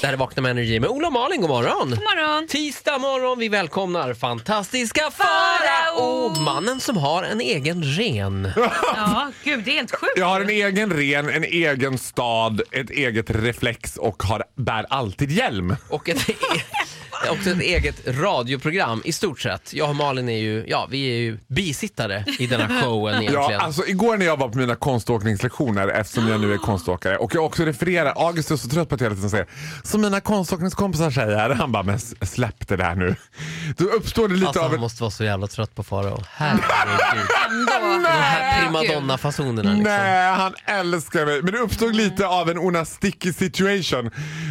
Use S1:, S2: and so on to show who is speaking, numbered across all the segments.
S1: Det här är Vakna med Energy med Ola och Malin. God morgon!
S2: God morgon!
S1: Tisdag morgon, vi välkomnar fantastiska Farao! Mannen som har en egen ren.
S2: Ja, gud det är helt sjukt.
S3: Jag har en egen ren, en egen stad, ett eget reflex och har, bär alltid hjälm.
S1: Och ett, e- också ett eget radioprogram i stort sett. Jag och Malin är ju, ja vi är ju bisittare i denna showen egentligen.
S3: Ja, alltså, igår när jag var på mina konståkningslektioner, eftersom jag nu är konståkare, och jag också refererar, August är så trött på att hela tiden säga som mina konståkningskompisar säger. Han bara, men släpp det där nu. Då uppstår det lite
S1: alltså
S3: av
S1: han
S3: en...
S1: måste vara så jävla trött på Farao. Herregud.
S2: Ändå.
S1: De här primadonna-fasonerna liksom.
S3: Nej, han älskar mig. Men det uppstod lite av en ona sticky situation.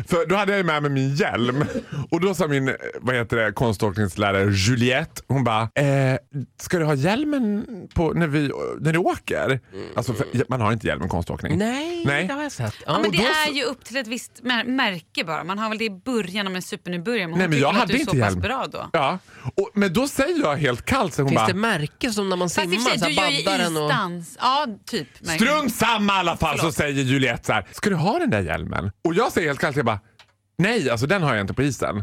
S3: För då hade jag ju med mig min hjälm. Och då sa min vad heter det, konståkningslärare Juliette, hon bara, eh, ska du ha hjälmen på när, vi, när du åker? Alltså, för, man har inte hjälm i konståkning.
S1: Mm. Nej,
S3: Nej.
S1: det har jag sett. Ja.
S2: Men
S3: Och
S2: det
S3: då
S2: är
S3: så-
S2: ju upp till ett visst mär- märke bara. Man har väl det i början om en supernybörjare. Men
S3: Nej,
S2: hon
S3: men
S2: tycker
S3: jag
S2: väl att
S3: hade
S2: du är
S3: inte
S2: så
S3: hjälm.
S2: pass bra då.
S3: Ja. Och, men då säger jag helt kallt, så hon
S1: Finns
S3: bara,
S1: det märken som när man
S2: Fast i och för
S1: simmar?
S2: sig,
S1: Så
S2: du gör ju
S1: här, baddaren och...
S2: isdans. Ja, typ. märker du.
S3: Strunt samma i alla fall så säger Juliette så här. Ska du ha den där hjälmen? Och jag säger helt kallt, jag bara Nej, alltså den har jag inte på isen.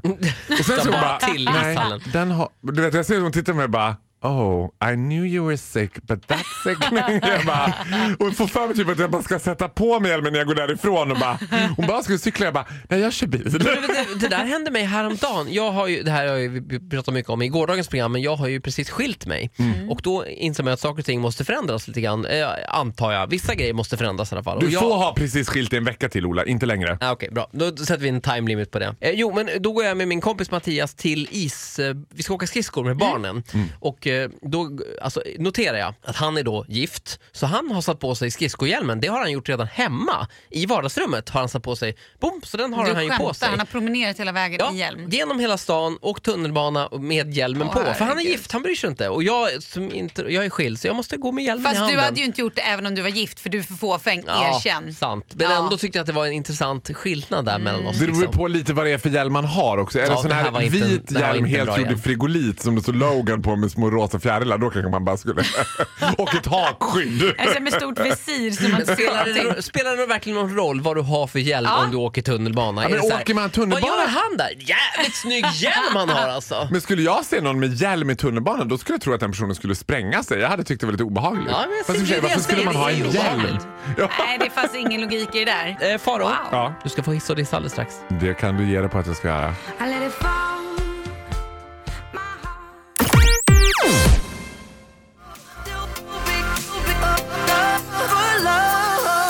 S3: Och sen
S1: Ta
S3: så hon
S1: bara
S3: bara,
S1: till
S3: nej,
S1: ishallen."
S3: den har, du vet jag ser hur hon tittar på mig och bara Oh, I knew you were sick but that's sickening. Jag bara, och får för mig typ att jag bara ska sätta på mig hjälmen när jag går därifrån. Och bara, hon bara, ska du cykla? Jag bara, nej jag kör bil.
S1: Men Det, det där hände mig häromdagen. Jag har ju, det här har jag ju- vi pratat mycket om i gårdagens program, men jag har ju precis skilt mig.
S3: Mm.
S1: Och då inser man att saker och ting måste förändras lite grann, eh, antar jag. Vissa grejer måste förändras i alla fall.
S3: Du
S1: Och jag,
S3: får ha precis skilt i en vecka till Ola, inte längre.
S1: Ah, Okej, bra. Då sätter vi en time limit på det. Eh, jo, men då går jag med min kompis Mattias till is... Eh, vi ska åka skridskor med
S3: Mm.
S1: barnen. Och eh, då alltså, noterar jag att han är då gift, så han har satt på sig skridskohjälmen. Det har han gjort redan hemma. I vardagsrummet har han satt på sig. Boom, så den har
S2: Du
S1: han ju på
S2: skämtar,
S1: sig.
S2: han har promenerat hela vägen
S1: Ja,
S2: i hjälm.
S1: genom hela stan och tunnelbana och med hjälmen
S2: Åh,
S1: på. För han är
S2: herregud.
S1: gift, han bryr sig inte. Och jag, som inte, jag är skild så jag måste gå med hjälmen i
S2: Fast
S1: handen.
S2: du hade ju inte gjort det även om du var gift för du är för fåfäng, erkänn.
S1: sant. Men
S2: Ja.
S1: ändå tyckte jag att det var en intressant skillnad där mellan oss.
S3: Mm. Det beror ju
S1: liksom.
S3: på lite vad det är för hjälm man har också. Är
S1: Ja,
S3: det sån
S1: det här var
S3: här
S1: inte en-
S3: vit
S1: det här var
S3: hjälm
S1: inte en bra
S3: helt gjord i
S1: hjälm.
S3: frigolit som det står Logan på med små rosa fjärilar, då kanske man bara skulle... och ett hakskydd.
S2: Alltså med stort visir som man
S1: Spelar
S2: ser
S1: det, spelar det verkligen någon roll vad du har för hjälm
S2: Ja.
S1: om du åker tunnelbana? Är
S3: men
S1: det så här,
S3: åker man tunnelbana-
S1: Vad gör han där? Jävligt snygg hjälm han har alltså!
S3: Men skulle jag se någon med hjälm i tunnelbanan då skulle jag tro att den personen skulle spränga sig. Jag hade tyckt det var lite obehagligt.
S1: Ja, men
S3: Fast i och för
S1: det
S3: sig,
S1: är
S3: varför
S1: det
S3: skulle
S1: jag
S3: man
S1: säger,
S3: ha
S1: det
S3: en
S1: är
S3: hjälm?
S1: obehagligt.
S3: Ja,
S2: Nej, det fanns ingen logik i det där.
S1: Eh, Faro,
S2: Wow.
S3: ja,
S1: du ska få hissa och dissa alldeles strax.
S3: det kan du ge dig på att jag ska göra.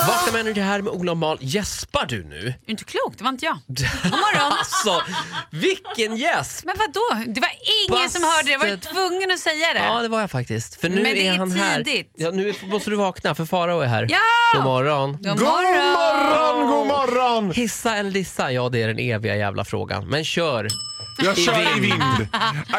S1: Vakna med Energy här med Ola och Mal. Gäspar du nu?
S2: Det är inte klokt, det var inte jag. God morgon.
S1: Alltså, vilken gäsp!
S2: Men vadå? Det var ingen
S1: Bastet.
S2: som hörde det. Jag var ju tvungen att säga det.
S1: Ja, det var jag faktiskt. För nu
S2: Äh. Men det
S1: är,
S2: är
S1: han här.
S2: tidigt.
S1: Ja, nu måste du vakna för Farao är här.
S2: Ja!
S1: God morgon.
S2: God
S3: God morgon, god morgon!
S1: Hissa eller dissa? Ja, det är den eviga jävla frågan. Men kör!
S3: Jag kör
S1: vind.
S3: i vind.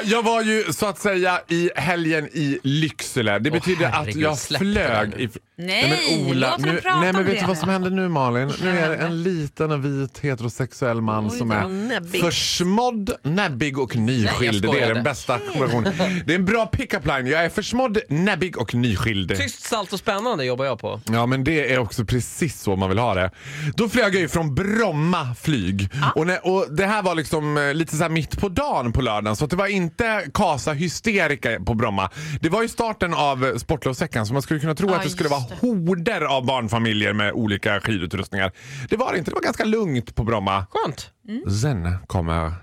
S3: Jag var ju så att säga i helgen i Lycksele. Det betyder att
S1: herregud,
S3: jag
S1: släpp det där
S3: flög
S1: nu.
S3: i...
S2: Nej, låt honom
S3: nu,
S2: prata
S3: nej
S2: om
S3: men vet
S2: det
S3: du vad som
S2: nu.
S3: hände nu Malin? Nu är det en liten och vit heterosexuell man som
S1: den
S3: är
S1: var näbbig.
S3: försmådd, näbbig och nyskild.
S1: Nej, jag
S3: det är
S1: skojade.
S3: den bästa kombinationen. Det är en bra pick-up line. Jag är försmådd, näbbig och nyskild.
S1: Tyst, salt och spännande jobbar jag på.
S3: Ja men det är också precis så man vill ha det. Då flög jag ju från Bromma flyg. Och, när, och Det här var liksom eh, lite så här mitt på dagen på lördagen så att det var inte Kasa Hysterica på Bromma. Det var ju starten av eh, sportlovsveckan så man skulle kunna tro
S2: Ja,
S3: att det skulle
S2: just
S3: vara horder av barnfamiljer med olika skidutrustningar. Det var det inte. Det var ganska lugnt på Bromma.
S1: Skönt.
S2: Mm.
S3: Sen kommer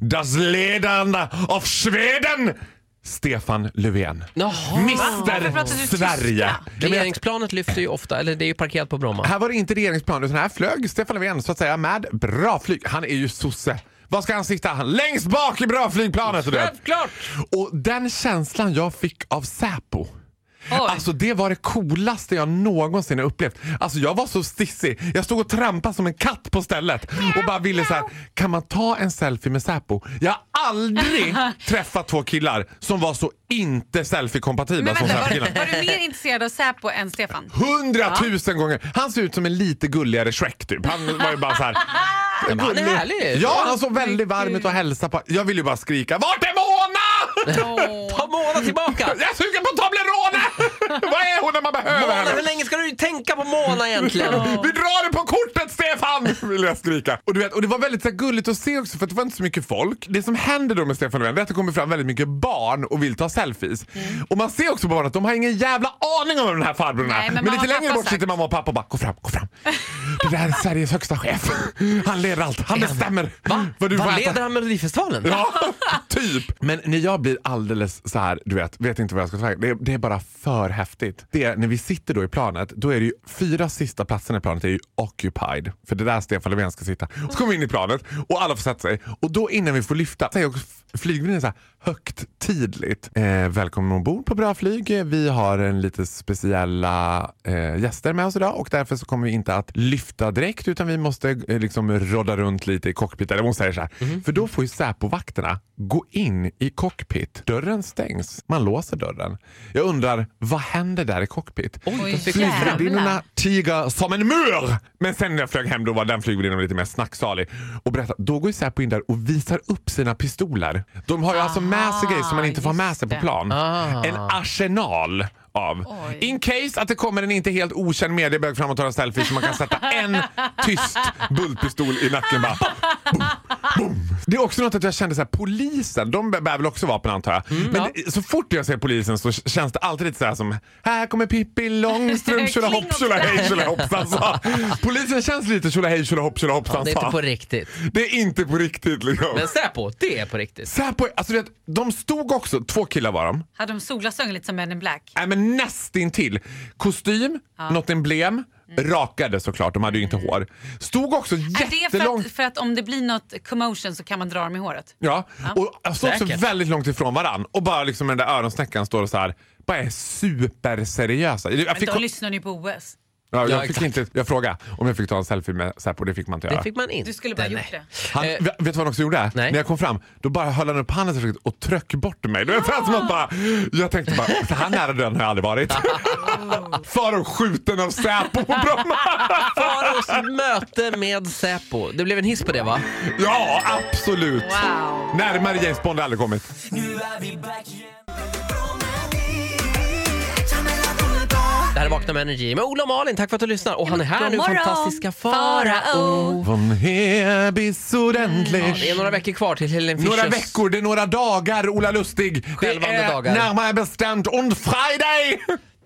S3: Das Ledande av Schweden Stefan Löfven.
S1: Jaha.
S2: Varför pratar du
S3: Mister
S2: tyska?
S3: Sverige. Jag menar-
S1: Regeringsplanet lyfter ju ofta, eller det är ju parkerat på Bromma.
S3: här var det inte regeringsplan utan här flög Stefan Löfven så att säga med bra flyg. Han är ju sosse. Var ska han sitta? Han- Längst bak i bra flygplanet! Och, det.
S1: Självklart!
S3: och den känslan jag fick av Säpo.
S2: Oj.
S3: Alltså det var det coolaste jag någonsin har upplevt. Alltså jag var så stissig. Jag stod och trampade som en katt på stället och bara ville så här. kan man ta en selfie med Säpo? Jag har aldrig träffat två killar som var så inte selfie-kompatibla
S2: Men
S3: som
S2: vänta,
S3: Säpo-killarna.
S2: var, var du mer intresserad av Säpo än Stefan?
S3: Hundratusen gånger! Han ser ut som en lite gulligare Shrek typ. Han var ju bara så här.
S1: men han är
S3: gullig.
S1: härlig.
S3: Ja, han såg väldigt varm ut och hälsade på. Jag vill ju bara skrika Vart är Mona?
S1: Ta Mona tillbaka!
S3: Jag suger på Toblerone! Vad är hon när man behöver
S1: Mona,
S3: henne?
S1: hur länge ska du tänka på Mona egentligen?
S3: Vi drar det på kortet Stefan! Vill jag skrika. Och, du vet, och det var väldigt så här, gulligt att se också för att det var inte så mycket folk. Det som händer då med Stefan Löfven det är att det kommer fram väldigt mycket barn och vill ta selfies. Och man ser också på barnen att de har ingen jävla aning om vem den här farbrorn är.
S2: Nej, men
S3: Men,
S2: mamma
S3: lite
S2: och
S3: längre
S2: pappa
S3: bort
S2: sagt.
S3: sitter mamma och pappa och bara gå fram, gå fram. Det där är Sveriges högsta chef. Han leder allt. Han bestämmer
S1: Va?
S3: vad du får
S1: Vad
S3: äta.
S1: leder han Melodifestivalen?
S3: Ja, typ. Men när jag blir alldeles så här, du vet, vet inte vad jag ska säga. Det, det är bara för häftigt. Det, när vi sitter då i planet, då är det ju fyra sista platserna i planet är ju occupied. För det är där Stefan Löfven ska sitta. Så kommer vi in i planet och alla får sätta sig. Och då innan vi får lyfta säger också flygvärdinnan så här högtidligt. Eh, välkommen ombord på Bra Flyg. Eh, Vi har en lite speciella eh, gäster med oss idag och därför så kommer vi inte att lyfta direkt utan vi måste eh, liksom rodda runt lite i cockpit. Eller hon säger så här. För då får ju Säpo-vakterna gå in i cockpit. Dörren stängs. Man låser dörren. Jag undrar, vad händer där i cockpit?
S2: Oj,
S1: de fick-
S2: jävlar.
S3: Flygvärdinnorna tiger som en mur! Men sen när jag flög hem då var den flygvärdinnan lite mer snacksalig och berättade, då går ju Säpo in där och visar upp sina pistoler. De har ju alltså med sig
S2: Aha,
S3: grejer som man inte får ha med
S2: Ah, just
S3: sig på
S2: det.
S3: plan.
S1: Ah.
S3: En arsenal av.
S2: Oj.
S3: In case att det kommer en inte helt okänd mediebög fram och tar en selfie så man kan sätta en tyst bultpistol i nacken bara. Boom, boom. Det är också något att jag kände så här, polisen, de bär väl också vapen antar jag. Men
S1: Mm. ja.
S3: så fort jag ser polisen så känns det alltid lite så här som, här kommer Pippi Långstrump tjolahopp tjolahej tjolahoppsan sa. Polisen känns lite tjolahej tjolahopp
S1: Ja,
S3: tjolahoppsan
S1: det är inte
S3: sa.
S1: på riktigt.
S3: Det är inte på riktigt liksom.
S1: Men Säpo, det är på riktigt.
S3: Säpo, alltså du vet, de stod också, två killar var de.
S2: Hade de solglasögon lite som Men in Black?
S3: Nej men nästintill. Kostym, något emblem,
S1: Mm.
S3: rakade såklart, de hade ju inte hår. Stod också
S1: Äh,
S2: Är det för
S3: jättelångt.
S2: att, för att om det blir något commotion så kan man dra dem i håret?
S3: Ja, och stod också
S1: Säkert.
S3: väldigt långt ifrån varann och bara liksom den där öronsnäckan står och så här bara är superseriösa. Jag
S2: Men
S3: fick,
S2: då lyssnar ni på OS.
S3: ja,
S1: Ja,
S3: jag fick
S1: exakt.
S3: inte, jag frågade om jag fick ta en selfie med Säpo, det fick man inte göra.
S1: Det fick man inte.
S2: Du skulle bara
S1: Nej.
S2: gjort det.
S3: Han,
S1: Eh,
S3: vet du vad han också gjorde?
S1: Nej.
S3: När jag kom fram, då bara höll han upp handen så försiktigt och tryckte bort mig. Du vet, så här som att bara, jag tänkte bara, så här nära döden har jag aldrig varit. Farao skjuten av Säpo på Bromma.
S1: Faros möte med Säpo. Det blev en hiss på det va?
S3: Ja, absolut.
S2: Wow.
S3: Närmare James Bond har aldrig kommit.
S1: Det här är Vakna med Energy med Ola och Malin. Tack för att du lyssnar. Och han är här
S2: God
S1: nu,
S2: morgon,
S1: fantastiska Farao.
S3: Von Hebis
S1: Mm, Ja, det är några veckor kvar till Helen Fischers.
S3: Några veckor, det är några dagar, Ola Lustig. det
S1: Självande
S3: är
S1: dagar.
S3: närmare bestämt on Friday!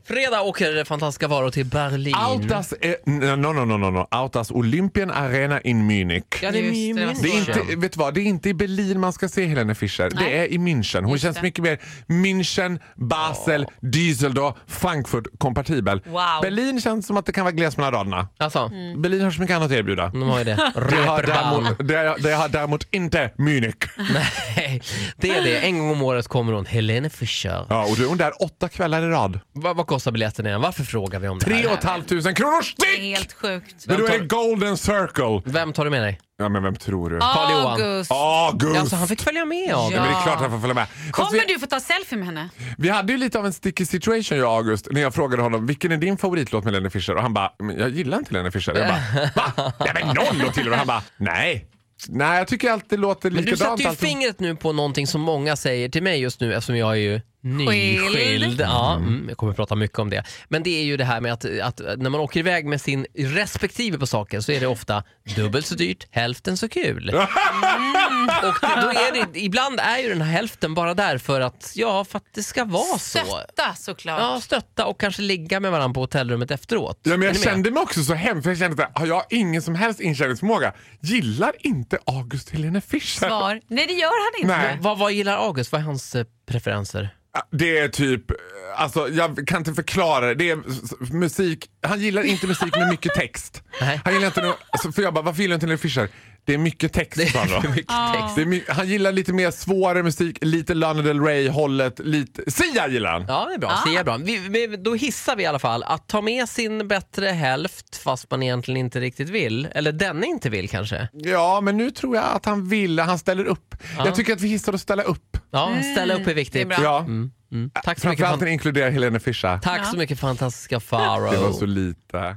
S1: Fredag åker fantastiska Farao till Berlin.
S3: Autas... Eh, no, no, no, no, no. Autas Olympien Arena in Munich.
S1: Ja, det är
S2: Just det, det var
S1: München.
S2: så.
S3: Det är, inte, vet du vad, det är inte i Berlin man ska se Helene Fischer. Det är i München. Hon känns
S2: det.
S3: mycket mer München, Basel, Düsseldorf, Frankfurt kompatibel.
S2: Wow.
S3: Berlin känns som att det kan vara gles mellan raderna.
S1: Alltså,
S3: Berlin har så mycket annat att erbjuda.
S1: de har ju det.
S3: Det har,
S1: Reeperbahn.
S3: däremot, det, det har däremot inte Munich.
S1: Nej, det är det. En gång om året kommer hon, Helene Fischer.
S3: Ja, och då är hon där åtta kvällar i rad.
S1: Vad, vad kostar biljetten igen? Varför frågar vi om det
S3: Tre
S1: här?
S3: och ett halvt tusen kronor
S2: Det är
S3: styck!
S2: helt sjukt.
S3: Men då är det
S1: Vem
S3: golden circle.
S1: Vem tar du med dig?
S3: Ja, men vem tror du?
S1: Johan.
S2: August.
S3: August!
S1: Alltså, han fick följa med av
S3: Ja, men det är
S2: Ja.
S3: klart han får följa med. Fast
S2: Kommer
S3: vi,
S2: du få ta selfie med henne?
S3: vi hade ju lite av en sticky situation jag och August när jag frågade honom vilken är din favoritlåt med Lennie Fischer och han bara "Men jag gillar inte Lennie Fischer. Jag bara va? Nej men någon låt till och han bara nej. Nej jag tycker alltid låter
S1: Men du
S3: likadant.
S1: satte ju
S3: alltid."
S1: fingret nu på någonting som många säger till mig just nu eftersom jag är ju nyskild.
S2: Skild.
S1: Ja, mm, jag kommer prata mycket om det. Men det är ju det här med att, att när man åker iväg med sin respektive på saker så är det ofta dubbelt så dyrt, hälften så kul.
S3: Mm.
S1: Och det, då är det, ibland är ju den här hälften bara där för att, ja, för att det ska vara så.
S2: Stötta såklart.
S1: Ja, stötta och kanske ligga med varandra på hotellrummet efteråt.
S3: Ja, men
S1: Är
S3: jag
S1: ni med?
S3: kände mig också så hemskt för jag kände att har jag ingen som helst inkärningsförmåga? Gillar inte August Helene Fischer?
S2: Svar? Nej det gör han inte.
S3: Nej.
S1: Vad, vad gillar August? Vad är hans eh, preferenser?
S3: Det är typ, alltså jag kan inte förklara det. det. är s- s- musik, han gillar inte musik med mycket text.
S1: Nej.
S3: Han gillar inte no, alltså, för jag bara, varför gillar inte Helene Fischer? Det är mycket
S1: Det
S3: text sa han
S1: är
S3: då.
S1: för mycket text.
S3: Det är my- han gillar lite mer svårare musik, lite Lana Del Rey hållet, lite... Sia gillar han!
S1: Ja, det är bra. Sia är bra. Vi, vi, då hissar vi i alla fall att ta med sin bättre hälft fast man egentligen inte riktigt vill. Eller denne inte vill kanske.
S3: Ja, men nu tror jag att han vill, han ställer upp. Jag tycker att vi hissar och ställa upp.
S1: Ja, ställa upp är viktigt.
S2: det är bra.
S3: Ja.
S1: Mm. Tack, så mycket,
S3: Framförallt när
S1: fan-
S3: det inkluderar Helene Fischer.
S1: tack så mycket fantastiska Farao.
S3: Det var så lite.